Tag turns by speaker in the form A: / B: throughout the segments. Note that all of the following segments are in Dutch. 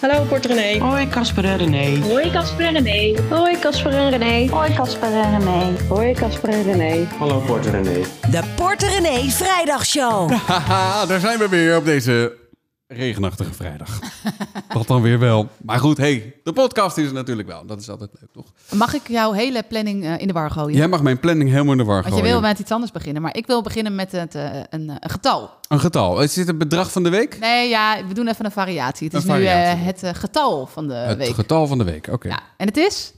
A: Hallo Port René.
B: Hoi Casper en René.
C: Hoi Casper en René.
A: Hoi Casper en René.
D: Hoi Casper en René.
E: Hoi Casper en René.
F: Hallo Port René.
G: De Port René Vrijdagshow.
H: Haha, daar zijn we weer op deze regenachtige vrijdag. Dat dan weer wel. Maar goed, hey, de podcast is er natuurlijk wel. Dat is altijd leuk, toch?
I: Mag ik jouw hele planning eh, in de war gooien?
H: Jij mag mijn planning helemaal in de war
I: Want
H: gooien.
I: je wil met iets anders beginnen, maar ik wil beginnen met het, eh, een, eh, een getal.
H: Een getal. Is dit het bedrag van de week?
I: Nee, ja, we doen even een variatie. Het is
H: Een variatie.
I: nu eh, het eh, getal van de
H: het
I: week.
H: getal van de week, oké.
I: Ja, en het is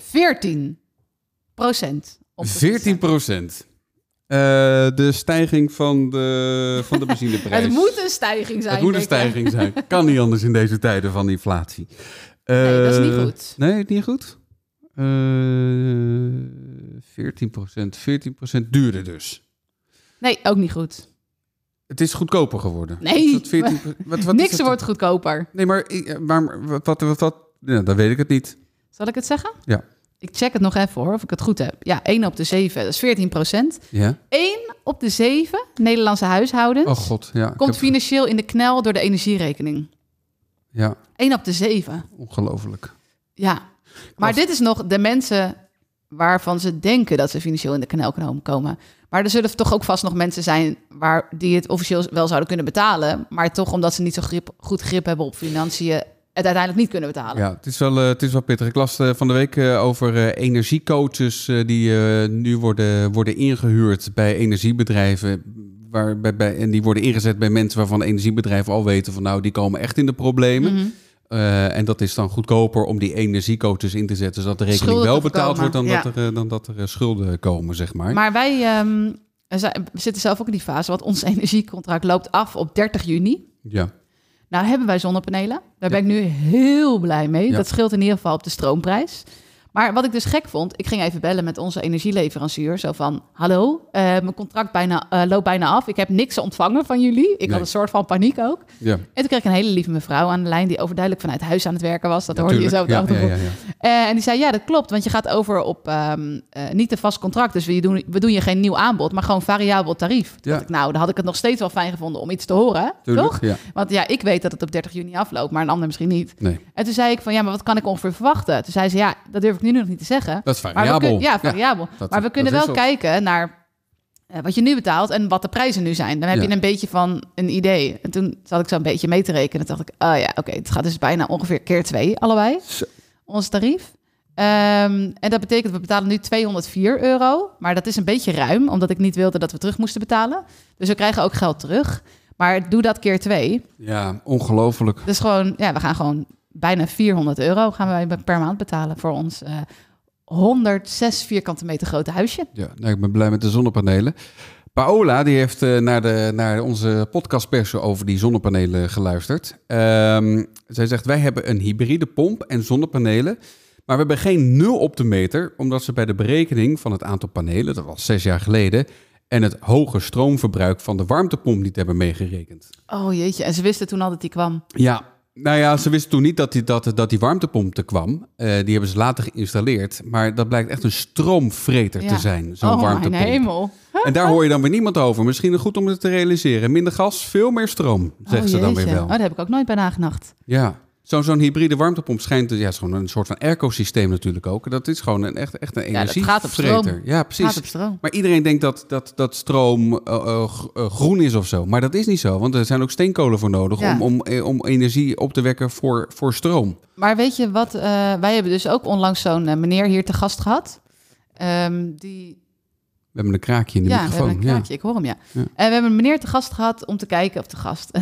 I: 14 procent.
H: 14 procent. Eh, de stijging van de, van de benzineprijs.
I: Het moet een stijging zijn.
H: Het moet een
I: denk ik.
H: stijging zijn. Kan niet anders in deze tijden van inflatie.
I: Nee, dat is niet
H: Eh,
I: goed.
H: Nee, niet goed. Eh 14%. 14% duurder dus.
I: Nee, ook niet goed.
H: Het is goedkoper geworden.
I: Nee.
H: Wat- 14%, wat, wat is
I: Niks
H: het?
I: wordt goedkoper.
H: Nee, maar, ik- eh, maar wat, wat, wat, wat- ja, dan weet ik het niet.
I: Zal ik het zeggen?
H: Ja.
I: Ik check het nog even hoor, of ik het goed heb. Ja, 1 op de 7, dat is 14 procent.
H: Ja?
I: 1 op de 7 Nederlandse huishoudens
H: Oh god, ja. ik
I: komt
H: heb-
I: financieel in de knel door de energierekening.
H: Ja,
I: 1 op de 7.
H: ongelooflijk.
I: Ja. Maar dit is nog de mensen waarvan ze denken dat ze financieel in de knel komen. Maar er zullen toch ook vast nog mensen zijn waar, die het officieel wel zouden kunnen betalen. Maar toch omdat ze niet zo grip, goed grip hebben op financiën, het uiteindelijk niet kunnen betalen.
H: Ja, het is wel, eh, het is wel pittig. Ik las eh, van de week eh, over eh, energiecoaches eh, die eh, nu worden, worden ingehuurd bij energiebedrijven. Waar, bij, bij, en die worden ingezet bij mensen waarvan energiebedrijven al weten van nou, die komen echt in de problemen.
I: Mhm.
H: Eh, en dat is dan goedkoper om die energiecoaches in te zetten, zodat de rekening
I: Schulden
H: wel
I: te
H: betaald wordt
I: voorkomen,
H: dan,
I: ja.
H: dat er, eh, dan dat er eh, schulden komen, zeg maar.
I: Maar wij ehm, zi- zitten zelf ook in die fase, want ons energiecontract loopt af op 30 juni.
H: Ja,
I: Nou hebben wij zonnepanelen. Daar ben ik nu heel blij mee.
H: Ja.
I: Dat scheelt in ieder geval op de stroomprijs. Maar wat ik dus gek vond, ik ging even bellen met onze energieleverancier. Zo van, hallo, eh, mijn contract bijna, eh, loopt bijna af. Ik heb niks ontvangen van jullie. Ik had
H: Nee.
I: een soort van paniek ook.
H: ja.
I: En toen kreeg ik een hele lieve mevrouw aan de lijn... die overduidelijk vanuit huis aan het werken was. Dat hoorde je zo op
H: natuurlijk.
I: de
H: ja,
I: achtergrond.
H: ja, ja, ja.
I: Eh, en die zei, ja, dat klopt, want je gaat over op ehm, eh, niet een vast contract. Dus we doen, we doen je geen nieuw aanbod, maar gewoon variabel tarief. Toen
H: Ja.
I: dacht ik, nou, dan had ik het nog steeds wel fijn gevonden om iets te horen,
H: Tuurlijk,
I: toch?
H: ja.
I: Want ja, ik weet dat het op 30 juni afloopt, maar een ander misschien niet.
H: Nee,
I: En toen zei ik van, ja, maar wat kan ik ongeveer verwachten? Toen zei ze, ja, dat durf ik nu nog niet te zeggen.
H: dat is
I: Maar we
H: variabel.
I: kun- ja, variabel.
H: dat-
I: maar we
H: dat
I: kunnen
H: is
I: wel
H: zo.
I: kijken naar eh, wat je nu betaalt en wat de prijzen nu zijn. Dan heb
H: Ja.
I: je een beetje van een idee. En toen zat ik zo een beetje mee te rekenen. Toen dacht ik, oh ja, oké, het gaat dus bijna ongeveer keer twee allebei,
H: Zo.
I: ons tarief. Ehm, en dat betekent, we betalen nu 204 euro. Maar dat is een beetje ruim, omdat ik niet wilde dat we terug moesten betalen. Dus we krijgen ook geld terug. Maar doe dat keer twee.
H: Ja, ongelooflijk.
I: Dus gewoon, ja, we gaan gewoon bijna 400 euro gaan wij per maand betalen voor ons eh 106 vierkante meter grote huisje.
H: Ja, nou, ik ben blij met de zonnepanelen. Paola die heeft eh, naar, de, naar onze podcastpersen over die zonnepanelen geluisterd. Ehm, zij zegt, wij hebben een hybride pomp en zonnepanelen. Maar we hebben geen nul op de meter, omdat ze bij de berekening van het aantal panelen, dat was zes jaar geleden, en het hoge stroomverbruik van de warmtepomp niet hebben meegerekend.
I: Oh jeetje, en ze wisten toen al dat die kwam.
H: Ja, nou ja, ze wisten toen niet dat die, dat, dat die warmtepomp er kwam. Eh, die hebben ze later geïnstalleerd. Maar dat blijkt echt een stroomvreter
I: Ja.
H: te zijn, zo'n
I: oh
H: warmtepomp.
I: mijn hemel.
H: En daar hoor je dan weer niemand over. Misschien goed om het te realiseren. Minder gas, veel meer stroom, zegt
I: Oh,
H: ze dan weer
I: jeetje.
H: wel.
I: Oh, daar heb ik ook nooit bij nagedacht.
H: Ja. Zo- Zo'n hybride warmtepomp schijnt... dus- Ja, het is gewoon een soort van airco-systeem natuurlijk ook. Dat is gewoon een, echt, echt een
I: dat gaat op
H: energievreter.
I: stroom.
H: Ja, precies.
I: Gaat op stroom.
H: Maar iedereen denkt dat, dat, dat stroom eh, eh, gro- eh, groen is of zo. Maar dat is niet zo, want er zijn ook steenkolen voor nodig...
I: Ja.
H: Om, om, eh, om energie op te wekken voor, voor stroom.
I: Maar weet je wat, eh, wij hebben dus ook onlangs zo'n eh, meneer hier te gast gehad. Ehm, die
H: We hebben een kraakje in de
I: ja, we
H: microfoon.
I: hebben een kraakje. Ik hoor hem, ja.
H: Ja.
I: En we hebben een meneer te gast gehad om te kijken, of te gast.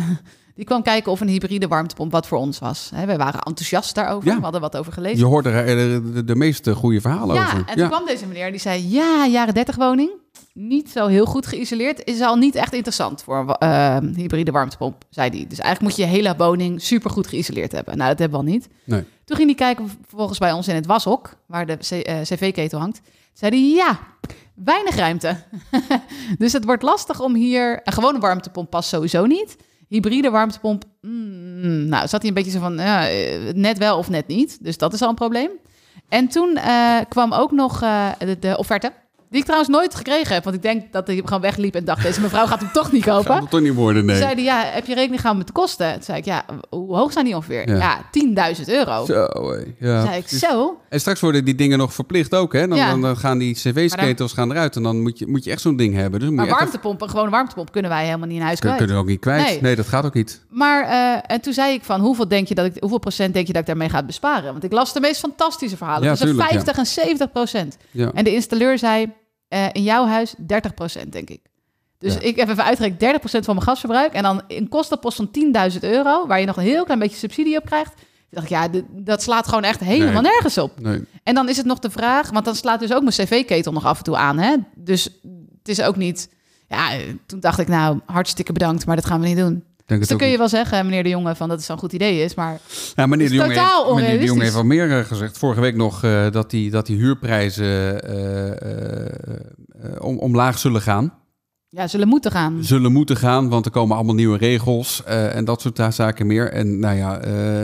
I: Die kwam kijken of een hybride warmtepomp wat voor ons was. Hè, wij waren enthousiast daarover.
H: Ja.
I: We hadden wat over
H: Ja.
I: gelezen.
H: Je hoort er eh, de, de, de meeste goede verhalen
I: ja,
H: over.
I: en toen kwam deze meneer die zei... ja, jaren 30 woning, niet zo heel goed geïsoleerd... is al niet echt interessant voor een wa- eh, hybride warmtepomp, zei hij. Dus eigenlijk moet je je hele woning supergoed geïsoleerd hebben. Nou, dat hebben we al niet.
H: Nee.
I: Toen ging hij kijken volgens bij ons in het washok... waar de c- eh, cv-ketel hangt. Zei hij, ja, weinig ruimte. dus het wordt lastig om hier... een gewone warmtepomp past sowieso niet... Hybride warmtepomp, mm, nou, zat hij een beetje zo van, ja, eh, net wel of net niet. Dus dat is al een probleem. En toen eh, kwam ook nog eh, de, de offerte Die ik trouwens nooit gekregen heb. Want ik denk dat hij gewoon wegliep en dacht, deze mevrouw gaat hem toch niet
H: Zou
I: kopen.
H: dat toch niet worden,
I: Toen
H: nee.
I: zei hij, ja, heb je rekening gehouden met de kosten? Toen zei ik, ja, hoe hoog zijn die ongeveer?
H: Ja.
I: Ja, 10.000 euro. Toen
H: Zo, hé. ja.
I: zei ik, zo?
H: En straks worden die dingen nog verplicht ook, hè? Dan,
I: Ja.
H: dan, dan gaan die cv-ketels gaan eruit en dan moet je, moet je echt zo'n ding hebben. Dus dan moet
I: Maar
H: je echt
I: warmtepomp, een gewone warmtepomp kunnen wij helemaal niet in huis
H: kun-
I: kwijt.
H: kunnen we ook niet kwijt. Nee.
I: Nee.
H: dat gaat ook niet.
I: Maar eh, en toen zei ik van hoeveel, denk je dat ik, hoeveel procent denk je dat ik daarmee ga besparen? Want ik las de meest fantastische verhalen.
H: Ja,
I: tussen
H: tuurlijk, ja.
I: 50 en 70 procent.
H: Ja.
I: En de installeur zei eh, in jouw huis 30 procent, denk ik. Dus
H: Ja.
I: ik heb even uitgerekend 30 procent van mijn gasverbruik. En dan een kostenpost van 10.000 euro, waar je nog een heel klein beetje subsidie op krijgt. Toen dacht ik, ja, dit- dat slaat gewoon echt helemaal
H: Nee.
I: nergens op.
H: Nee.
I: En dan is het nog de vraag, want dan slaat dus ook mijn cv-ketel nog af en toe aan. Hè? Dus het is ook niet... Ja, eh, toen dacht ik, nou, hartstikke bedankt, maar dat gaan we niet doen.
H: Ik Denk
I: Dus dan
H: het
I: kun
H: ook
I: je
H: niet.
I: wel zeggen, meneer de jongen, van dat het zo'n goed idee is. Maar
H: Ja, meneer, de
I: is
H: Jonge
I: totaal
H: heeft, meneer de Jonge
I: onrealistisch.
H: heeft al meer eh, gezegd. Vorige week nog eh, dat, die, dat die huurprijzen eh, eh, eh, om, omlaag zullen gaan.
I: ja, zullen moeten gaan.
H: zullen moeten gaan, want er komen allemaal nieuwe regels eh, en dat soort da- zaken meer. En nou ja, eh,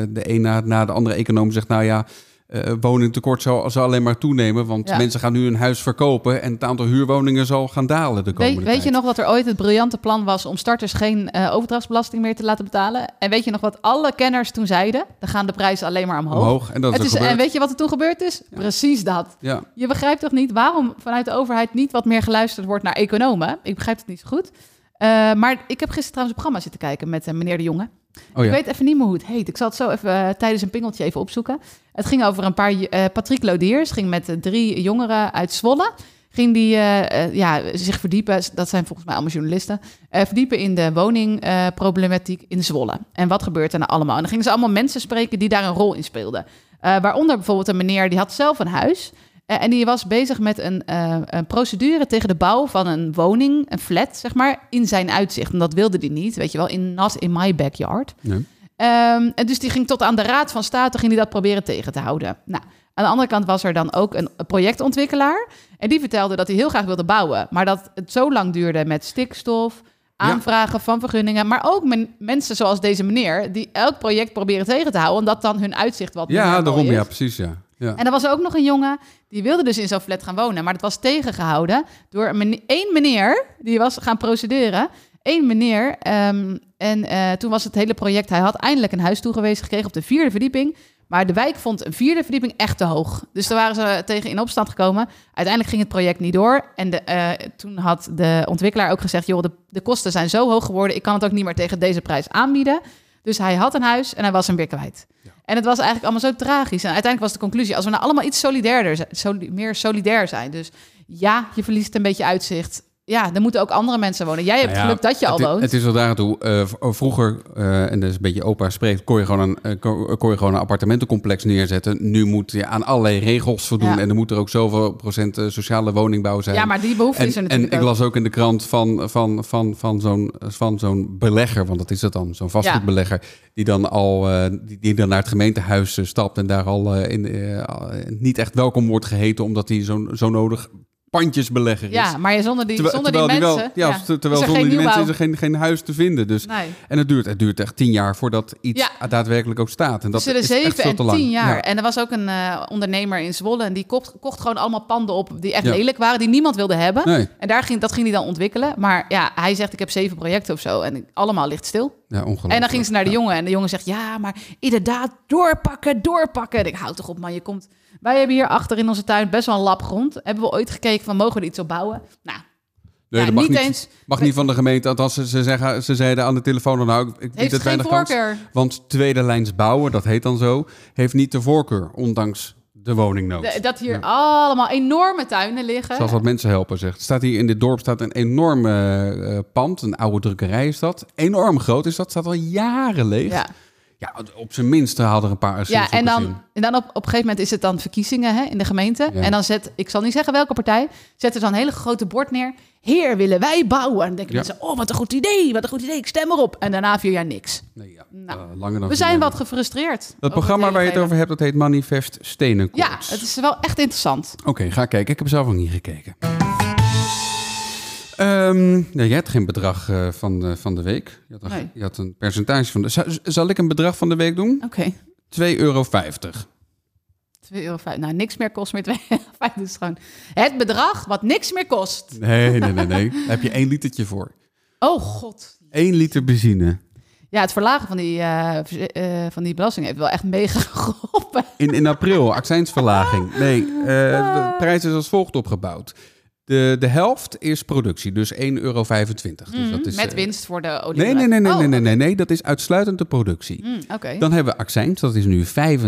H: de een na, na de andere econoom zegt, nou ja, eh, woningtekort zal, zal alleen maar toenemen, want
I: Ja.
H: mensen gaan nu hun huis verkopen en het aantal huurwoningen zal gaan dalen de komende
I: Weet, weet je
H: tijd.
I: nog wat er ooit het briljante plan was om starters geen eh, overdrachtsbelasting meer te laten betalen? En weet je nog wat alle kenners toen zeiden? Dan gaan de prijzen alleen maar omhoog.
H: Omhoog. En dat is
I: Het
H: ook
I: is,
H: gebeurd.
I: en weet je wat er toen gebeurd is? Precies dat.
H: Ja,
I: Je begrijpt toch niet waarom vanuit de overheid niet wat meer geluisterd wordt naar economen? Ik begrijp het niet zo goed. Eh, maar ik heb gisteren trouwens een programma zitten kijken met eh, meneer de Jonge.
H: oh
I: Ik
H: ja.
I: weet even niet meer hoe het heet. Ik zal het zo even eh, tijdens een pingeltje even opzoeken. Het ging over een paar... eh, Patrick Lodiers ging met eh, drie jongeren uit Zwolle... ging die eh, eh, ja, zich verdiepen... dat zijn volgens mij allemaal journalisten... eh, verdiepen in de woningproblematiek eh, in Zwolle. En wat gebeurt er nou allemaal? En dan gingen ze allemaal mensen spreken die daar een rol in speelden. Eh, waaronder bijvoorbeeld een meneer, die had zelf een huis... eh, en die was bezig met een, eh, een procedure tegen de bouw van een woning, een flat, zeg maar, in zijn uitzicht. En dat wilde hij niet, weet je wel, in not in my backyard.
H: Nee.
I: Ehm, en dus die ging tot aan de Raad van State ging die dat proberen tegen te houden. Nou, aan de andere kant was er dan ook een projectontwikkelaar. En die vertelde dat hij heel graag wilde bouwen. Maar dat het zo lang duurde met stikstof, aanvragen van vergunningen. Maar ook men- mensen zoals deze meneer, die elk project proberen tegen te houden. Omdat dan hun uitzicht wat minder
H: ja,
I: mooi
H: daarom,
I: is.
H: ja, precies, ja. ja.
I: En er was ook nog een jongen die wilde dus in zo'n flat gaan wonen. Maar dat was tegengehouden door een mene- één meneer die was gaan procederen. Eén meneer. ehm, en eh, toen was het hele project. Hij had eindelijk een huis toegewezen gekregen op de vierde verdieping. Maar de wijk vond een vierde verdieping echt te hoog. Dus daar waren ze tegen in opstand gekomen. Uiteindelijk ging het project niet door. En de, eh, toen had de ontwikkelaar ook gezegd: joh, de, de kosten zijn zo hoog geworden. Ik kan het ook niet meer tegen deze prijs aanbieden. Dus hij had een huis en hij was hem weer kwijt. En het was eigenlijk allemaal zo tragisch. En uiteindelijk was de conclusie: als we nou allemaal iets solidairder zijn, soli- meer solidair zijn. Dus ja, je verliest een beetje uitzicht. Ja, er moeten ook andere mensen wonen. Jij hebt
H: Nou ja,
I: geluk dat je al
H: het, i-
I: woont.
H: Het is wel daar toe. eh, v- vroeger, eh, en dat is een beetje opa spreekt, kon je gewoon een, eh, kon, kon je gewoon een appartementencomplex neerzetten. Nu moet je aan allerlei regels voldoen.
I: Ja.
H: En er moet er ook zoveel procent eh, sociale woningbouw zijn.
I: ja, maar die behoefte
H: En,
I: is er
H: en
I: natuurlijk
H: ik
I: ook.
H: las ook in de krant van, van, van, van zo'n van zo'n belegger, want dat is dat dan, zo'n vastgoedbelegger, die dan al eh, die, die dan naar het gemeentehuis eh, stapt en daar al eh, in, eh, al, eh, niet echt welkom wordt geheten, omdat hij zo, zo nodig pandjesbelegger is.
I: Ja, maar zonder die,
H: Terwijl-
I: zonder die
H: terwijl die wel-
I: mensen.
H: ja,
I: ja,
H: ter- terwijl
I: is er
H: zonder
I: geen
H: die mensen is er
I: nieuwbouw.
H: geen, geen huis te vinden. Dus.
I: Nee.
H: En het duurt, het duurt echt tien jaar voordat iets
I: Ja.
H: daadwerkelijk ook staat. En dat
I: Dat zullen
H: is echt
I: zeven
H: veel
I: en
H: te lang.
I: tien jaar.
H: Ja.
I: En er was ook een eh, ondernemer in Zwolle. En die kocht, kocht gewoon allemaal panden op die echt
H: Ja.
I: lelijk waren. Die niemand wilde hebben.
H: Nee,
I: En daar ging, dat ging hij dan ontwikkelen. Maar ja, hij zegt ik heb zeven projecten of zo. En ik- allemaal ligt stil.
H: Oh, ja, ongelooflijk.
I: En dan ging ze naar de jongen en de jongen zegt... ja, maar inderdaad, doorpakken, doorpakken. En ik hou toch op, man, je komt... Wij hebben hier achter in onze tuin best wel een lap grond. Hebben we ooit gekeken van, mogen we er iets op bouwen? Nou,
H: Nee,
I: ja,
H: dat mag
I: niet
H: niet,
I: eens.
H: mag niet van de gemeente. Althans, ze, ze, zeggen, ze zeiden aan de telefoon... Nou, ik- ik bied
I: heeft
H: het
I: het geen
H: weinig kans.
I: voorkeur.
H: Want tweede lijns bouwen, dat heet dan zo... heeft niet de voorkeur, ondanks de woningnood.
I: De- dat hier allemaal enorme tuinen liggen.
H: Zoals wat mensen helpen, zegt. Staat hier in dit dorp staat een enorm eh, eh, pand. Een oude drukkerij is dat. Enorm groot is dat. Staat al jaren leeg.
I: ja.
H: Ja, op zijn minst hadden er een paar
I: Ja, en
H: zien.
I: dan, en dan op, op een gegeven moment is het dan verkiezingen hè, in de gemeente.
H: Ja.
I: En dan zet, ik zal niet zeggen welke partij, zet er zo'n hele grote bord neer. Heer, willen wij bouwen? En dan denken
H: Ja.
I: mensen, oh, wat een goed idee, wat een goed idee, ik stem erop. En daarna vier jaar niks.
H: Nee, ja,
I: Nou,
H: eh, langer dan
I: We
H: vier
I: zijn
H: jaar.
I: wat gefrustreerd.
H: Dat programma waar je het over hebt, dat heet Manifest Stenenkoorts.
I: Ja, het is wel echt interessant.
H: Oké, ga kijken. Ik heb zelf ook niet gekeken. Ehm, nee, jij had geen bedrag eh, van, de, van de week. Je had, een,
I: Nee.
H: je had een percentage van de... Zal, zal ik een bedrag van de week doen?
I: Oké.
H: 2,50 euro.
I: 2,50 2,5 euro. Nou, niks meer kost meer 2,5 Dus gewoon het bedrag wat niks meer kost.
H: Nee, nee, nee, nee. Daar heb je één litertje voor.
I: Oh god.
H: Eén liter benzine.
I: Ja, het verlagen van die, eh, verze- eh, van die belasting heeft wel echt mega geholpen.
H: In, in april, accijnsverlaging. Nee, eh, de
I: Ah.
H: prijs is als volgt opgebouwd. De, de helft is productie, dus 1,25 euro. Dus dat is,
I: Mm, Met
H: eh,
I: winst voor de olie.
H: Nee, nee, nee, nee,
I: Oh,
H: nee, nee, nee, nee. Dat is uitsluitend de productie.
I: mm, Oké.
H: Dan hebben we accijns, dat is nu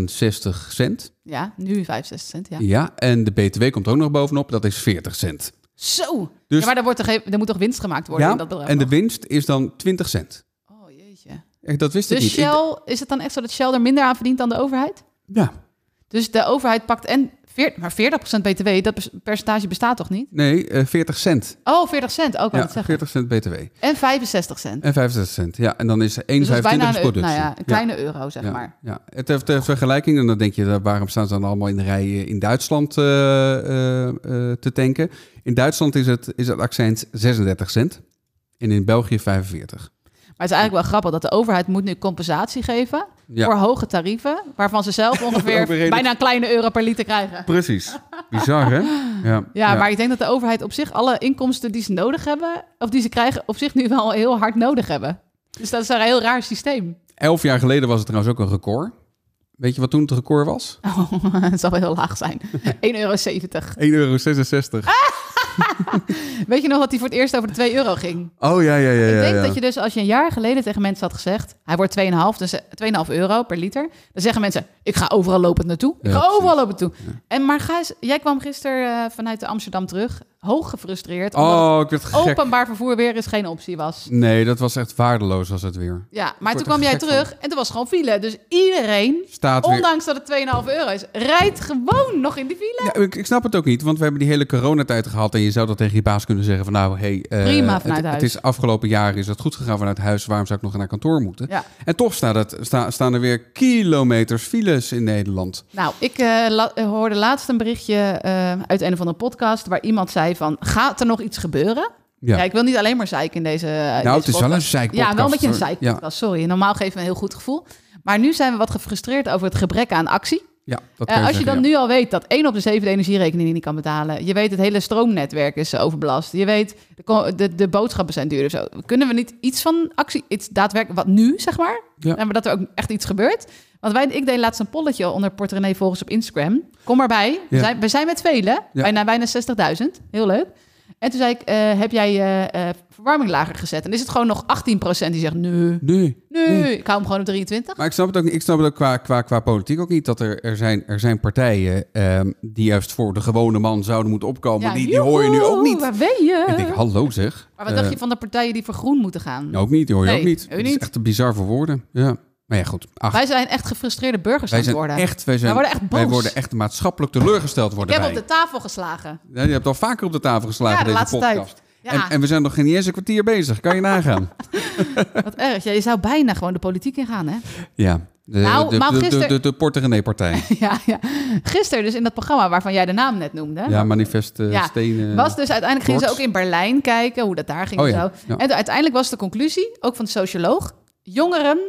H: 65 cent.
I: Ja, nu 65 cent. Ja.
H: Ja. en de BTW komt er ook nog bovenop, dat is 40 cent.
I: Zo.
H: Dus-
I: Ja, maar er, wordt toch geen- er moet toch winst gemaakt worden in dat bedrag?
H: en de
I: nog?
H: winst is dan 20 cent.
I: Oh jeetje.
H: Echt, dat wist ik
I: Dus
H: niet. Ik-
I: Shell, is het dan echt zo dat Shell er minder aan verdient dan de overheid?
H: Ja,
I: Dus de overheid pakt en veer- maar 40% BTW, dat pers- percentage bestaat toch niet?
H: nee, eh, 40 cent.
I: Oh, 40 cent, ook
H: Ja,
I: al zeggen.
H: 40 cent BTW.
I: En 65 cent.
H: En 65 cent, ja. En dan is 1,25
I: Dus dat is bijna een, eu-
H: productie.
I: nou ja, een kleine euro, zeg
H: Ja,
I: maar.
H: ja. Het ter, ter vergelijking, en dan denk je, daar- waarom staan ze dan allemaal in de rij eh, in Duitsland eh, eh, eh, te tanken? In Duitsland is het, is het accent 36 cent en in België 45.
I: Maar het is eigenlijk wel grappig dat de overheid moet nu compensatie geven
H: Ja.
I: voor hoge tarieven, waarvan ze zelf ongeveer
H: Overheden.
I: bijna een kleine euro per liter krijgen.
H: Precies. Bizar, hè? Ja,
I: Ja, maar ik denk dat de overheid op zich alle inkomsten die ze nodig hebben, of die ze krijgen, op zich nu wel heel hard nodig hebben. Dus dat is een heel raar systeem.
H: Elf jaar geleden was het trouwens ook een record. Weet je wat toen het record was?
I: Oh, het zal wel heel laag zijn. 1,70 euro.
H: 1,66 euro.
I: Weet je nog dat hij voor het eerst over de 2 euro ging?
H: Oh, ja, ja, ja.
I: Ah! Ik
H: ja,
I: denk
H: ja.
I: dat je dus, als je een jaar geleden tegen mensen had gezegd... hij wordt 2,5, dus eh, 2,5 euro per liter. Dan zeggen mensen, ik ga overal lopend naartoe. Ik
H: Ja,
I: ga
H: precies.
I: overal lopend naartoe. En maar ga eens, jij kwam gisteren eh, vanuit Amsterdam terug. Hoog gefrustreerd. omdat
H: Oh, ik werd
I: het
H: gek.
I: openbaar vervoer weer eens geen optie was.
H: Nee, dat was echt waardeloos was het weer.
I: Ja, maar
H: word
I: toen
H: er
I: kwam jij
H: gek van.
I: terug en toen was gewoon file. Dus iedereen,
H: Staat weer...
I: ondanks dat het 2,5 euro is... rijdt gewoon nog in die file.
H: Ja, ik, ik snap het ook niet, want we hebben die hele coronatijd gehad en je zou dat tegen je baas kunnen zeggen van nou, hey, eh,
I: Prima
H: het,
I: vanuit
H: het
I: huis.
H: is afgelopen jaar is het goed gegaan vanuit huis, waarom zou ik nog naar kantoor moeten?
I: Ja.
H: En toch staat het, sta- staan er weer kilometers files in Nederland.
I: Nou, ik eh, la- eh, hoorde laatst een berichtje eh, uit een of andere podcast... waar iemand zei van, gaat er nog iets gebeuren? Ja,
H: Ja.
I: ik wil niet alleen maar zeiken in deze
H: nou, het is wel een zeik.
I: Ja, wel een beetje een zeikpodcast, sorry. Normaal geven we een heel goed gevoel. Maar nu zijn we wat gefrustreerd over het gebrek aan actie.
H: Ja, ja, dat
I: Eh,
H: kan je
I: als je
H: zeggen,
I: dan
H: ja.
I: nu al weet dat één op de zeven de energierekening niet kan betalen... je weet het hele stroomnetwerk is eh, overbelast... je weet de, ko- de, de boodschappen zijn duurder zo. Kunnen we niet iets van actie, iets daadwerkelijk wat nu, zeg maar...
H: Ja.
I: En dat er ook echt iets gebeurt? Want wij, ik deed laatst een polletje onder Port René volgens op Instagram. Kom maar bij. We,
H: Ja.
I: zijn, we zijn met velen.
H: Ja.
I: Bijna, bijna 60.000. Heel leuk. En toen zei ik, eh, heb jij eh, eh, verwarming lager gezet? En is het gewoon nog 18% die zegt, nee,
H: Nee.
I: nee,
H: Nee.
I: ik hou hem gewoon op 23.
H: Maar ik snap het ook niet. Ik snap het ook qua, qua, qua politiek ook niet. Dat er, er, zijn, er zijn partijen ehm, die juist voor de gewone man zouden moeten opkomen. Oh, die, die hoor je nu ook
I: joehoe,
H: niet.
I: Waar ben je?
H: Ik denk, hallo zeg.
I: maar wat dacht
H: Eh,
I: je van de partijen die voor groen moeten gaan?
H: Nou, ook niet, die hoor je
I: Nee,
H: ook niet.
I: ook
H: Het is
I: niet.
H: echt te bizar voor woorden. Ja. Maar ja, goed. Ach, wij,
I: Wij zijn echt gefrustreerde burgers aan
H: zijn
I: het worden.
H: echt, wij, zijn,
I: Wij worden echt boos.
H: wij worden echt maatschappelijk teleurgesteld
I: ik
H: worden
I: heb
H: wij.
I: op de tafel geslagen.
H: Ja, je hebt al vaker op de tafel geslagen
I: Ja, de
H: deze
I: laatste
H: podcast.
I: tijd. Ja.
H: En, en we zijn nog geen eerste kwartier bezig. Kan je nagaan?
I: Wat erg. Ja, je zou bijna gewoon de politiek ingaan, hè?
H: ja. De,
I: Nou,
H: de,
I: maar
H: de, de,
I: gister-
H: de, de Porter René partij.
I: Ja, ja. Gisteren dus in dat programma waarvan jij de naam net noemde.
H: Ja, manifest eh,
I: Ja,
H: stenen.
I: was dus uiteindelijk gingen ze ook
H: Korts.
I: in Berlijn kijken hoe dat daar ging
H: Oh
I: en
H: ja,
I: zo.
H: ja.
I: En toen uiteindelijk was de conclusie, ook van de socioloog, jongeren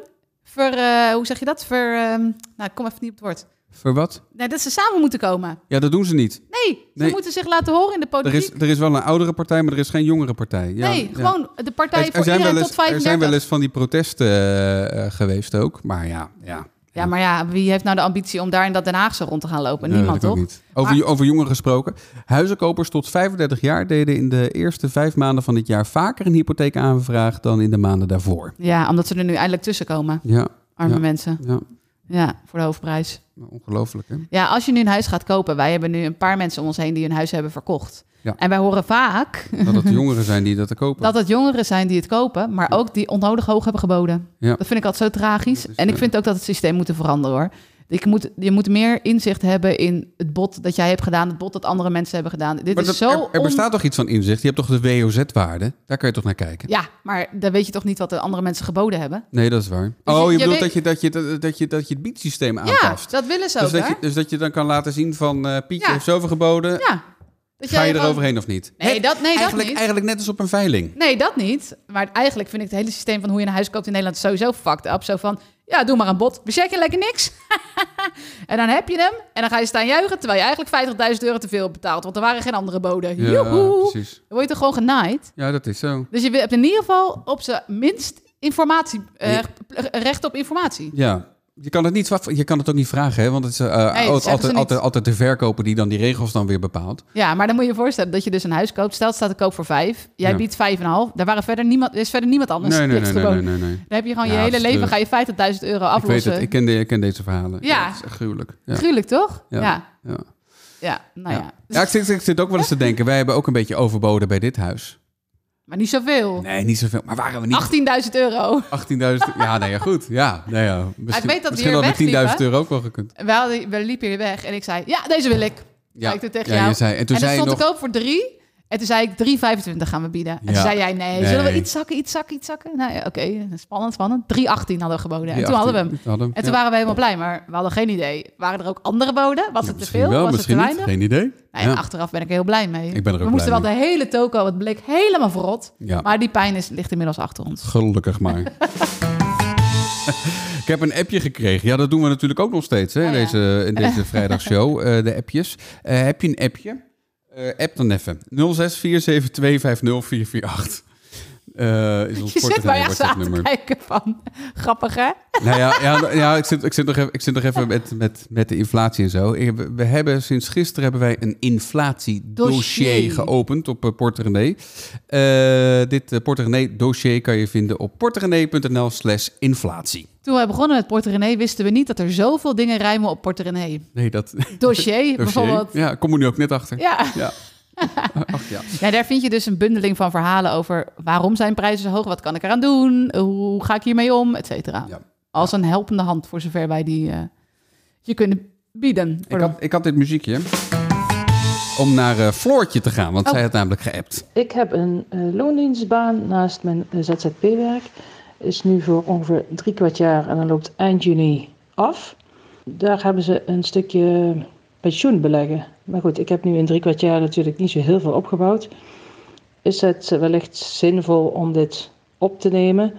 I: ver, eh, hoe zeg je dat? Ver, ehm, nou, ik kom even niet op het woord.
H: Voor wat?
I: Nee, dat ze samen moeten komen.
H: Ja, dat doen ze niet.
I: Nee, ze
H: Nee.
I: moeten zich laten horen in de
H: Er
I: politiek.
H: is, er is wel een oudere partij, maar er is geen jongere partij. Ja,
I: nee,
H: ja.
I: gewoon de partij
H: Er-
I: voor
H: er zijn,
I: iedereen
H: wel eens,
I: tot
H: er zijn
I: 35.
H: wel eens van die protesten eh, eh, geweest ook. Maar ja, ja.
I: Ja, maar ja, wie heeft nou de ambitie om daar in dat Den Haagse rond te gaan lopen?
H: dat
I: Niemand, toch?
H: weet ik ook Niet. Over,
I: Maar-
H: jo- over jongeren gesproken. Huizenkopers tot 35 jaar deden in de eerste vijf maanden van dit jaar vaker een hypotheekaanvraag dan in de maanden daarvoor.
I: Ja, omdat ze er nu eindelijk tussen komen,
H: Ja,
I: arme
H: Ja.
I: mensen.
H: ja. Nou,
I: Ja, voor de hoofdprijs.
H: ongelooflijk hè?
I: Ja, als je nu een huis gaat kopen, wij hebben nu een paar mensen om ons heen die hun huis hebben verkocht.
H: Ja.
I: En wij horen vaak
H: Dat het de jongeren zijn die dat te kopen.
I: dat het jongeren zijn die het kopen, maar ook die onnodig hoog hebben geboden.
H: Ja.
I: Dat vind ik altijd zo tragisch.
H: Dat is,
I: En ik
H: eh,
I: vind ook dat het systeem moet veranderen hoor. Ik moet, je moet meer inzicht hebben in het bod dat jij hebt gedaan, het bod dat andere mensen hebben gedaan. Dit
H: Maar
I: is
H: dat-
I: zo.
H: er, er
I: on-
H: bestaat toch iets van inzicht? Je hebt toch de WOZ-waarde? Daar kan je toch naar kijken?
I: Ja, maar dan weet je toch niet wat de andere mensen geboden hebben?
H: Nee, dat is waar.
I: Dus je-
H: oh, je,
I: je
H: bedoelt
I: weet-
H: dat, je, dat, je, dat, dat, je, dat je het biedsysteem
I: Ja,
H: aanpast.
I: dat willen ze ook.
H: dus, dat
I: hè?
H: je, dus dat je dan kan laten zien van eh, Pietje
I: Ja.
H: heeft zoveel geboden.
I: Ja. Dat
H: Ga
I: jij
H: je
I: gewoon-
H: eroverheen of niet?
I: Nee, dat, nee, dat
H: eigenlijk,
I: niet.
H: eigenlijk net als op een veiling.
I: Nee, dat niet. Maar eigenlijk vind ik het hele systeem van hoe je een huis koopt in Nederland sowieso fucked up. Zo van, Ja, doe maar een bod. We checken lekker niks. en dan heb je hem. En dan ga je staan juichen. Terwijl je eigenlijk 50.000 euro te veel hebt betaald. Want er waren geen andere boden. Joehoe.
H: precies.
I: Dan word je toch gewoon genaaid.
H: Ja, dat is zo.
I: Dus je hebt in ieder geval op zijn minst informatie. eh,
H: Ja.
I: pl- recht op informatie.
H: Ja. Je kan, het niet, zwa- je kan het ook niet vragen, hè? want het is eh,
I: zeggen ze
H: altijd,
I: niet.
H: altijd, altijd de verkoper die dan die regels dan weer bepaalt.
I: Ja, maar dan moet je je voorstellen dat je dus een huis koopt. Stel, het staat te koop voor vijf. Jij
H: Ja.
I: biedt vijf en een half. Daar waren verder niemand, is verder niemand anders.
H: Nee, nee,
I: Ligt
H: nee, nee,
I: gewoon.
H: nee, nee.
I: Dan heb je gewoon
H: Ja,
I: je
H: het
I: hele
H: is
I: leven,
H: de-
I: ga je 50.000 euro
H: Ik weet
I: aflossen.
H: het, ik ken, de, ik ken deze verhalen.
I: Ja. Dus-
H: het is echt gruwelijk. Ja.
I: Gruwelijk, toch? Ja.
H: Ja.
I: Ja,
H: Ja.
I: nou ja.
H: Ja. Ja, ik, zit, ik zit ook wel eens te denken, wij hebben ook een beetje overboden bij dit huis.
I: Maar niet zoveel.
H: Nee, niet zoveel. Maar waren we niet
I: 18.000 euro.
H: 18.000? Ja, nee, ja, goed. Ja, nee, ja. Misschien,
I: weet dat we
H: misschien
I: hier
H: hadden
I: wegliepen.
H: 10.000 euro ook wel gekund.
I: We, hadden- we liepen hier weg en ik zei, ja, deze wil ik.
H: Ja,
I: Zei ik toen tegen
H: ja,
I: jou.
H: je zei- en toen
I: en
H: zei
I: dan
H: je
I: stond
H: nog-
I: ik ook voor drie. En toen zei ik 3,25 gaan we bieden. En toen
H: Ja.
I: zei jij, nee, zullen we
H: Nee.
I: iets zakken, iets zakken, iets zakken? Nou ja, oké, spannend, spannend. 3,18 hadden we geboden. en toen
H: 18
I: hadden we hem.
H: Hadden we
I: En toen
H: ja.
I: waren we helemaal blij, maar we hadden geen idee. Waren er ook andere boden? Was
H: Ja,
I: het te
H: misschien
I: veel?
H: wel,
I: Was het te
H: misschien
I: weinig?
H: niet. Geen idee.
I: Nou ja,
H: Ja.
I: achteraf ben ik er heel blij mee.
H: Ik ben er ook
I: we moesten
H: blij
I: wel de hele toko, het bleek helemaal verrot.
H: Ja.
I: Maar die pijn is, ligt inmiddels achter ons.
H: Gelukkig maar. Ik heb een appje gekregen. Ja, dat doen we natuurlijk ook nog steeds hè, in,
I: Oh ja.
H: deze, in deze vrijdagshow, eh, de appjes. Eh, heb je een appje? Eh, app dan even. 0647250448. Eh, is ons
I: Je zit
H: korte
I: mij echt zo aan te
H: WhatsApp-nummer.
I: kijken van, grappig hè?
H: Nou ja, ja, ja ik, zit, ik, zit nog even, ik zit nog even met, met, met de inflatie en zo. Ik, heb- we hebben sinds gisteren hebben wij een inflatiedossier
I: Dossier.
H: geopend op eh, Porte René. Eh, dit eh, Porte René dossier kan je vinden op porterené.nl slash inflatie.
I: Toen wij begonnen met Porte René wisten we niet dat er zoveel dingen rijmen op Porte René.
H: Nee, dat
I: Dossier bijvoorbeeld.
H: Ja, kom er nu ook net achter.
I: Ja.
H: Ja. Ach ja.
I: ja, daar vind je dus een bundeling van verhalen over waarom zijn prijzen zo hoog, wat kan ik eraan doen, hoe ga ik hiermee om, et cetera.
H: Ja.
I: Als een helpende hand voor zover wij die eh, je kunnen bieden.
H: Ik, had, ik had dit muziekje om naar eh, Floortje te gaan, want
I: Oh.
H: zij had namelijk geappt.
B: Ik heb een eh, loondienstbaan naast mijn eh, ZZP-werk. Is nu voor ongeveer drie kwart jaar en dan loopt eind juni af. Daar hebben ze een stukje pensioen beleggen. Maar goed, ik heb nu in drie kwart jaar natuurlijk niet zo heel veel opgebouwd. Is het wellicht zinvol om dit op te nemen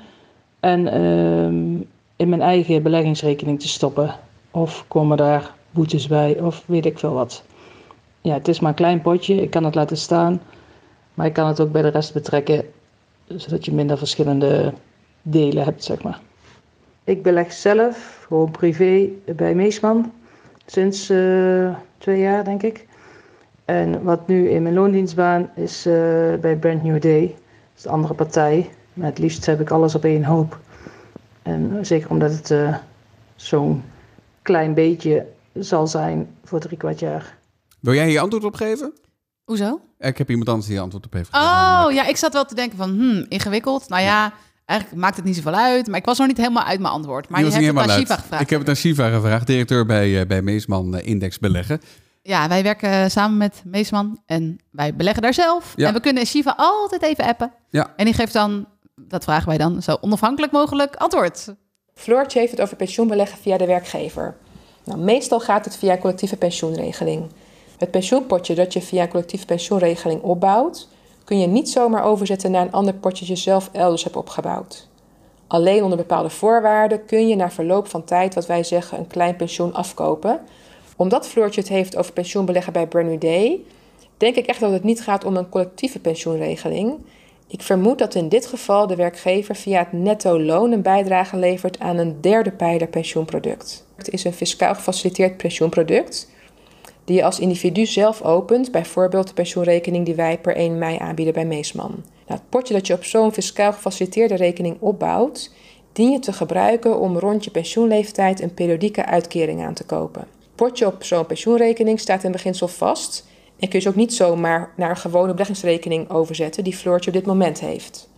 B: en ehm, in mijn eigen beleggingsrekening te stoppen? Of komen daar boetes bij of weet ik veel wat? Ja, het is maar een klein potje. Ik kan het laten staan. Maar je kan het ook bij de rest betrekken, zodat je minder verschillende delen hebt, zeg maar. Ik beleg zelf, gewoon privé, bij Meesman. Sinds eh, twee jaar, denk ik. En wat nu in mijn loondienstbaan is eh, bij Brand New Day. Dat is de andere partij. Maar het liefst heb ik alles op één hoop. En zeker omdat het eh, zo'n klein beetje zal zijn voor drie kwart jaar.
H: Wil jij je antwoord opgeven?
I: Hoezo?
H: Ik heb iemand anders die je antwoord op heeft gegeven.
I: Oh, ja, ik zat wel te denken van, hmm, ingewikkeld. Nou ja, eigenlijk maakt het niet zoveel uit. Maar ik was nog niet helemaal uit mijn antwoord. Maar
H: Die
I: je
H: was
I: hebt
H: niet
I: het aan
H: helemaal
I: Shiva
H: uit.
I: gevraagd.
H: Ik heb het aan Shiva gevraagd, directeur bij, eh, bij Meesman eh, Index Beleggen.
I: Ja, wij werken samen met Meesman en wij beleggen daar zelf.
H: Ja.
I: En we kunnen Shiva altijd even appen.
H: Ja.
I: En die geeft dan, dat vragen wij dan, zo onafhankelijk mogelijk antwoord.
C: Floortje heeft het over pensioenbeleggen via de werkgever. Nou, meestal gaat het via collectieve pensioenregeling. Het pensioenpotje dat je via een collectieve pensioenregeling opbouwt, kun je niet zomaar overzetten naar een ander potje dat je zelf elders hebt opgebouwd. Alleen onder bepaalde voorwaarden kun je na verloop van tijd, wat wij zeggen, een klein pensioen afkopen. Omdat Floortje het heeft over pensioenbeleggen bij Brand New Day, denk ik echt dat het niet gaat om een collectieve pensioenregeling. Ik vermoed dat in dit geval de werkgever via het netto loon een bijdrage levert aan een derde pijler pensioenproduct. Het is een fiscaal gefaciliteerd pensioenproduct die je als individu zelf opent, bijvoorbeeld de pensioenrekening die wij per 1 mei aanbieden bij Meesman. Nou, het potje dat je op zo'n fiscaal gefaciliteerde rekening opbouwt, dien je te gebruiken om rond je pensioenleeftijd een periodieke uitkering aan te kopen. Het potje op zo'n pensioenrekening staat in beginsel vast en kun je dus ook niet zomaar naar een gewone beleggingsrekening overzetten die Floortje op dit moment heeft.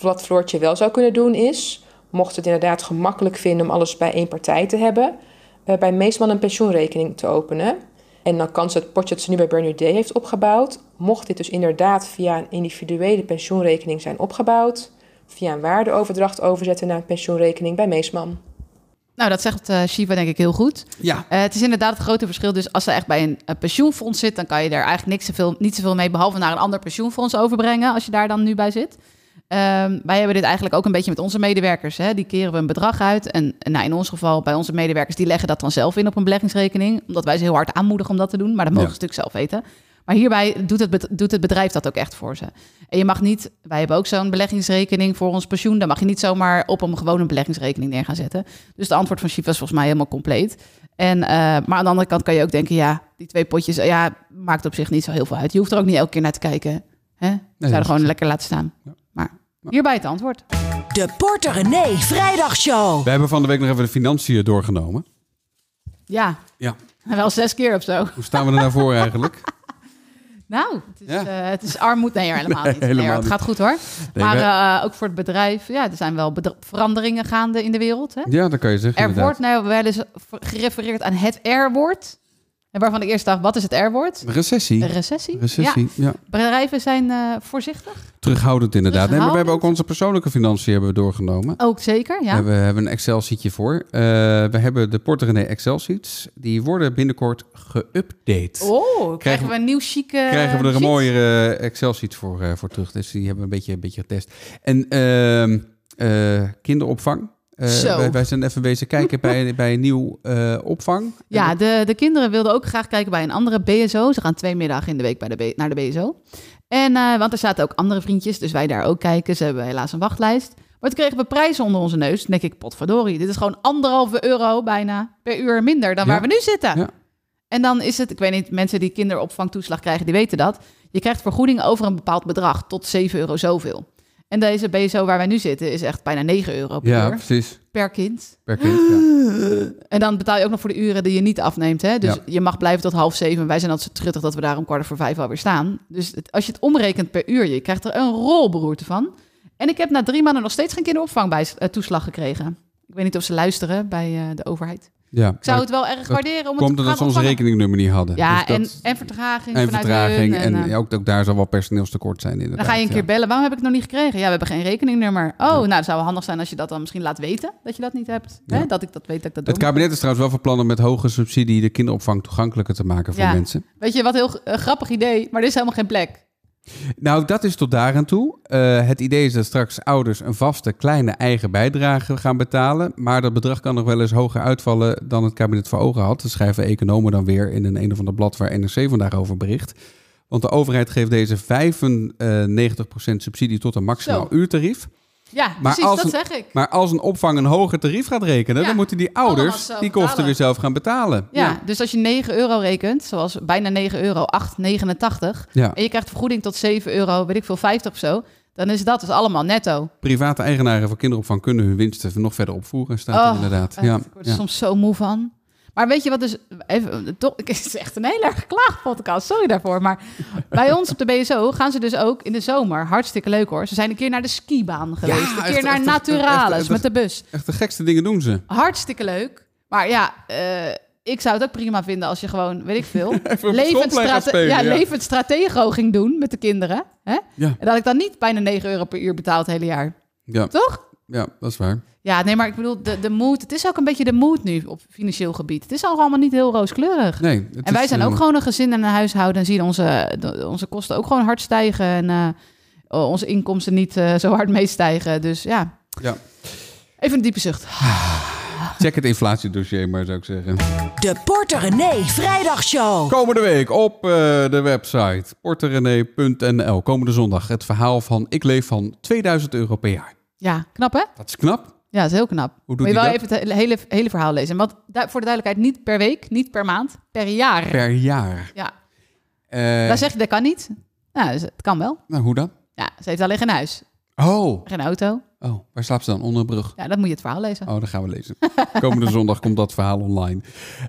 C: Wat Floortje wel zou kunnen doen is, mocht het inderdaad gemakkelijk vinden om alles bij één partij te hebben, eh, bij Meesman een pensioenrekening te openen. En dan kan ze het potje dat ze nu bij Brand New Day heeft opgebouwd, mocht dit dus inderdaad via een individuele pensioenrekening zijn opgebouwd, via een waardeoverdracht overzetten naar een pensioenrekening bij Meesman.
I: Nou, dat zegt eh, Shiva denk ik heel goed.
H: Ja.
I: Eh, het is inderdaad het grote verschil. Dus als ze echt bij een, eh, pensioenfonds zit, dan kan je daar eigenlijk niks zoveel, niet zoveel mee, behalve naar een ander pensioenfonds overbrengen, als je daar dan nu bij zit. Eh, Ehm, wij hebben dit eigenlijk ook een beetje met onze medewerkers. Hè? Die keren we een bedrag uit. En eh, nou, in ons geval, bij onze medewerkers, die leggen dat dan zelf in op een beleggingsrekening. Omdat wij ze heel hard aanmoedigen om dat te doen. Maar dat mogen
H: Ja.
I: ze natuurlijk zelf weten. Maar hierbij doet het, bet- doet het bedrijf dat ook echt voor ze. En je mag niet, wij hebben ook zo'n beleggingsrekening voor ons pensioen. Daar mag je niet zomaar op een gewone beleggingsrekening neer gaan zetten. Dus het antwoord van Chief was volgens mij helemaal compleet. En, eh, maar aan de andere kant kan je ook denken, ja, die twee potjes, eh, ja, maakt op zich niet zo heel veel uit. Je hoeft er ook niet elke keer naar te kijken. Hè? Zou
H: dat
I: er
H: is
I: gewoon lekker laten staan. Maar hierbij het antwoord.
G: De Porter René Vrijdagshow.
H: We hebben van de week nog even de financiën doorgenomen.
I: Ja,
H: Ja.
I: wel zes keer of zo.
H: Hoe staan we er daarvoor eigenlijk?
I: Nou, het is,
H: Ja.
I: eh, het is armoed. Nee, helemaal
H: Nee,
I: niet. Nee,
H: helemaal
I: hoor, het
H: niet.
I: gaat goed hoor.
H: Nee,
I: maar
H: wij-
I: eh, ook voor het bedrijf, ja, er zijn wel bedra- veranderingen gaande in de wereld. Hè?
H: Ja, dat kan je zeggen.
I: Er
H: inderdaad.
I: wordt nou wel eens ver- gerefereerd aan het R-woord. En waarvan ik eerst dacht, wat is het R-woord?
H: Recessie.
I: Recessie. Ja,
H: Recessie, ja.
I: bedrijven zijn eh, voorzichtig.
H: Terughoudend inderdaad. Nee, maar we hebben ook
I: Terughoudend?
H: onze persoonlijke financiën hebben we doorgenomen.
I: Ook zeker, ja.
H: Ja. We hebben een Excel-sheetje voor. Eh, we hebben de Porter René Excel-sheets. Die worden binnenkort geüpdate.
I: Oh, krijgen,
H: Krijgen-
I: we een nieuw chique...
H: Krijgen we er een
I: sheet?
H: mooiere eh, Excel-sheet voor, eh, voor terug. Dus die hebben we een beetje, een beetje getest. En ehm, eh, kinderopvang. Eh,
I: Zo.
H: wij, wij zijn even bezig kijken bij, bij een nieuw eh, opvang.
I: Ja, de, de kinderen wilden ook graag kijken bij een andere BSO. Ze gaan twee middagen in de week bij de B- naar de BSO. En, eh, want er zaten ook andere vriendjes, dus wij daar ook kijken. Ze hebben helaas een wachtlijst. Maar toen kregen we prijzen onder onze neus. Dan denk ik, potverdorie, dit is gewoon anderhalve euro bijna per uur minder dan
H: Ja.
I: waar we nu zitten.
H: Ja.
I: En dan is het, ik weet niet, mensen die kinderopvangtoeslag krijgen, die weten dat. Je krijgt vergoeding over een bepaald bedrag, tot 7 euro zoveel. En deze BSO waar wij nu zitten is echt bijna 9 euro per
H: Ja,
I: uur
H: precies.
I: per kind.
H: Per kind, ja.
I: En dan betaal je ook nog voor de uren die je niet afneemt. Hè? Dus
H: Eh. Ja.
I: je mag blijven tot half zeven. Wij zijn altijd zo truttig dat we daar om kwart voor vijf alweer staan. Dus het- als je het omrekent per uur, je krijgt er een rolberoerte van. En ik heb na drie maanden nog steeds geen kinderopvang bij eh, toeslag gekregen. Ik weet niet of ze luisteren bij eh, de overheid.
H: ja.
I: Ik zou
H: Maar
I: het wel erg waarderen om het
H: Komt
I: te
H: omdat
I: gaan
H: ze ons
I: ontvangen.
H: rekeningnummer niet hadden.
I: Ja,
H: Dus
I: en,
H: dat-
I: en vertraging
H: en
I: vanuit
H: vertraging.
I: hun
H: En,
I: eh,
H: ja, ook, ook daar zal wel personeelstekort zijn inderdaad.
I: dan ga je een
H: ja.
I: keer bellen. Waarom heb ik het nog niet gekregen? Ja, we hebben geen rekeningnummer. Oh, nou, dat zou wel handig zijn als je dat dan misschien laat weten. Dat je dat niet hebt.
H: Ja.
I: Hè? Dat ik dat weet dat ik dat doe.
H: Het kabinet is trouwens wel van plan om met hoge subsidie de kinderopvang toegankelijker te maken voor
I: Ja.
H: mensen.
I: Weet je, wat een heel eh, grappig idee, maar er is helemaal geen plek.
H: Nou, dat is tot daar aan toe. Eh, het idee is dat straks ouders een vaste kleine eigen bijdrage gaan betalen. Maar dat bedrag kan nog wel eens hoger uitvallen dan het kabinet voor ogen had. Dat schrijven economen dan weer in een een of ander blad waar NRC vandaag over bericht. Want de overheid geeft deze 95% subsidie tot een maximaal
I: Zo.
H: uurtarief.
I: Ja, precies,
H: als
I: dat
H: een-
I: zeg ik.
H: Maar als een opvang een hoger tarief gaat rekenen,
I: Ja,
H: dan moeten die
I: allemaal
H: ouders
I: zelf
H: die kosten
I: betalen.
H: weer zelf gaan betalen.
I: ja, dus als je 9 euro rekent, zoals bijna 9 euro, 8,89.
H: ja.
I: En je krijgt vergoeding tot 7 euro, weet ik veel, 50 of zo. Dan is dat dus allemaal netto.
H: Private eigenaren van kinderopvang kunnen hun winsten nog verder opvoeren, staat er
I: Oh,
H: inderdaad.
I: echt,
H: Ja,
I: ik word er
H: ja.
I: soms zo moe van. Maar weet je wat dus... Even, toch, het is echt een heel erg klaagpodcast, sorry daarvoor. Maar bij ons op de BSO gaan ze dus ook in de zomer, hartstikke leuk hoor. Ze zijn een keer naar de skibaan geweest, een
H: echt,
I: keer naar
H: echt, echt, echt,
I: Naturalis
H: echt,
I: met de bus.
H: Echt de gekste dingen doen ze.
I: Hartstikke leuk. Maar ja, eh, ik zou het ook prima vinden als je gewoon, weet ik veel,
H: Even op het schoolplein gaan spelen,
I: ja,
H: ja.
I: levend stratego ging doen met de kinderen. Hè?
H: Ja.
I: En dat ik dan niet bijna 9 euro per uur betaal het hele jaar.
H: Ja,
I: Toch?
H: ja dat is waar.
I: Ja, nee, maar ik bedoel, de, de mood, het is ook een beetje de mood nu op financieel gebied. Het is al allemaal niet heel rooskleurig.
H: Nee, het
I: en wij
H: is,
I: zijn
H: eh,
I: ook gewoon een gezin en een huishouden en zien onze, de- onze kosten ook gewoon hard stijgen en eh, onze inkomsten niet eh, zo hard meestijgen. Dus ja,
H: Ja.
I: even een diepe zucht.
H: Check het inflatiedossier maar, zou ik zeggen.
G: De Porter René Vrijdagshow.
H: Komende week op eh, de website porterene.nl. Komende zondag het verhaal van ik leef van 2000 euro per jaar.
I: Ja, knap hè?
H: Dat is knap.
I: Ja, dat is heel knap.
H: doet
I: Moet
H: hij
I: je wel
H: dat?
I: even het hele, hele verhaal lezen. En Wat du- voor de duidelijkheid, niet per week, niet per maand, per jaar.
H: Per jaar.
I: Ja,
H: Eh,
I: daar zeg je dat kan niet. Nou, dus het kan wel.
H: Nou, hoe dan?
I: Ja, ze heeft alleen geen huis,
H: Oh.
I: geen auto.
H: oh, waar slaapt ze dan? Onder een brug.
I: Ja, dan moet je het verhaal lezen.
H: Oh, dan gaan we lezen. Komende zondag komt dat verhaal online.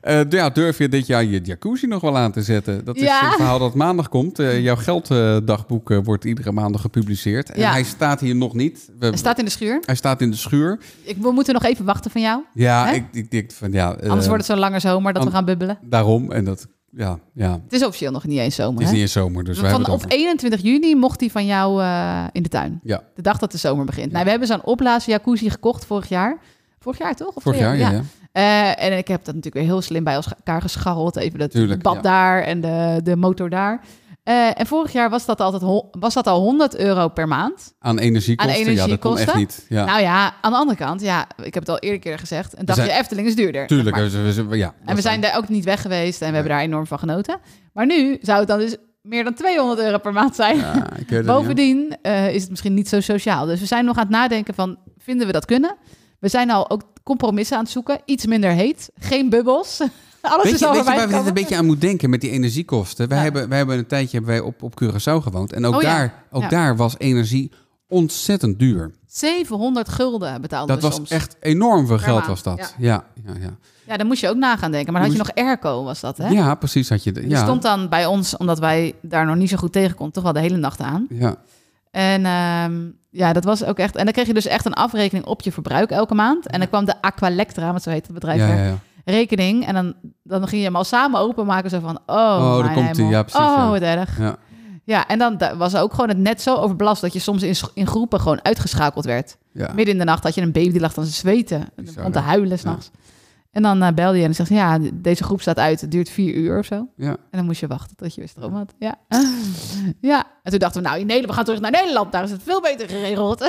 H: Eh, ja, durf je dit jaar je jacuzzi nog wel aan te zetten? Dat is
I: Ja.
H: een verhaal dat maandag komt. Eh, jouw gelddagboek eh, wordt iedere maandag gepubliceerd. En
I: Ja.
H: hij staat hier nog niet. We-
I: Hij staat in de schuur.
H: hij staat in de schuur.
I: Ik, we moeten nog even wachten van jou.
H: Ja,
I: Hè?
H: ik, ik denk van ja. eh,
I: Anders wordt het zo'n lange zomer dat we
H: an-
I: gaan bubbelen.
H: Daarom en dat. Ja, ja.
I: Het is officieel nog niet eens zomer.
H: Het is
I: hè?
H: niet eens zomer, dus wij
I: van
H: hebben het
I: op
H: over.
I: 21 juni mocht hij van jou eh, in de tuin.
H: Ja,
I: De dag dat de zomer begint. Nou, we hebben zo'n opblazen jacuzzi gekocht vorig jaar. Vorig jaar toch? Of
H: vorig
I: twee
H: jaar, ja. ja.
I: Eh, en ik heb dat natuurlijk weer heel slim bij elkaar gescharreld. Even dat
H: Tuurlijk,
I: bad
H: ja.
I: daar en de, de motor daar. Eh, en vorig jaar was dat, altijd ho- was dat al 100 euro per maand.
H: Aan energiekosten?
I: Aan
H: Ja, dat kon echt
I: energiekosten?
H: niet. Ja.
I: Nou ja, aan de andere kant, ja, ik heb het al eerder keer gezegd. Een dagje
H: zijn-
I: Efteling is duurder. zeg
H: Tuurlijk.
I: maar.
H: we- we- we- ja,
I: Nou, En we
H: dat
I: zijn daar ook niet weg geweest en we
H: Nee.
I: hebben daar enorm van genoten. Maar nu zou het dan dus meer dan 200 euro per maand zijn.
H: Ja, ik weet het niet,
I: Bovendien eh, is het misschien niet zo sociaal. Dus we zijn nog aan het nadenken van, vinden we dat kunnen? We zijn al ook compromissen aan het zoeken. Iets minder heet, geen bubbels. Alles
H: Weet
I: is
H: je,
I: al
H: weet je waar
I: voorbij
H: we dit
I: gekomen.
H: een beetje aan moet denken met die energiekosten? Wij,
I: Ja.
H: hebben, wij hebben een tijdje hebben wij op, op Curaçao gewoond. En ook,
I: Oh ja,
H: daar, ook
I: ja.
H: daar was energie ontzettend duur.
I: 700 gulden betaalden
H: Dat
I: we
H: was
I: soms.
H: echt enorm veel
I: Per
H: geld
I: maand,
H: was dat.
I: dus ja.
H: Ja, ja, ja.
I: Ja, daar moest je ook na gaan denken. Maar dan
H: Je
I: had je nog airco, was dat hè?
H: ja. precies had je... de-
I: Die
H: Ja,
I: stond dan bij ons, omdat wij daar nog niet zo goed tegen konden, toch wel de hele nacht aan.
H: ja.
I: En ehm, ja, dat was ook echt. En dan kreeg je dus echt een afrekening op je verbruik elke maand. En dan kwam de Aqualectra, want zo heet het bedrijf,
H: Ja,
I: daar,
H: ja, ja.
I: rekening. En dan, dan ging je hem al samen openmaken. Zo van, oh,
H: daar
I: mijn
H: komt-ie.
I: hemel.
H: Ja, precies,
I: Oh,
H: ja.
I: wat erg.
H: Ja.
I: Ja, en dan da- was ook gewoon het net zo overbelast dat je soms in, scho- in groepen gewoon uitgeschakeld werd.
H: Ja.
I: Midden in de nacht had je een baby die lag dan te zweten. En
H: Bizar,
I: begon te
H: hè?
I: huilen s'nachts. En dan eh, belde je en dan zegt ze, ja, deze groep staat uit. Het duurt vier uur of zo.
H: Ja.
I: En dan moest je wachten tot je weer stroom had. Ja. ja. En toen dachten we, nou, in Nederland, we gaan terug naar Nederland. Daar is het veel beter geregeld.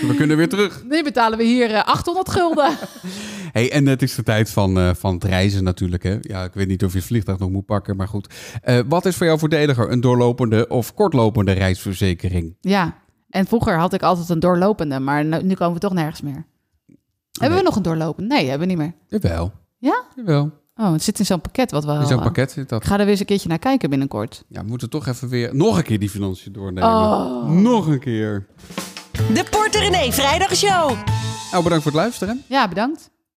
H: Nou, we kunnen weer terug.
I: Nu betalen we hier eh, 800 gulden.
H: Hey, en het is de tijd van, eh, van het reizen natuurlijk. Hè? Ja, ik weet niet of je het vliegtuig nog moet pakken, maar goed. Eh, wat is voor jou voordeliger, een doorlopende of kortlopende reisverzekering?
I: ja. En vroeger had ik altijd een doorlopende, maar nu, nu komen we toch nergens meer. Hebben we nog een doorlopende? Nee, hebben we niet meer.
H: Jawel.
I: Ja?
H: Jawel.
I: Oh, het zit in zo'n pakket wat we
H: In
I: al-
H: zo'n pakket zit dat.
I: Ik ga er weer eens een keertje naar kijken binnenkort.
H: Ja, we moeten toch even weer nog een keer die financiën doornemen.
I: Oh.
H: Nog een keer.
G: De Porter René Vrijdagshow.
H: Nou, bedankt voor het luisteren.
I: Ja, bedankt.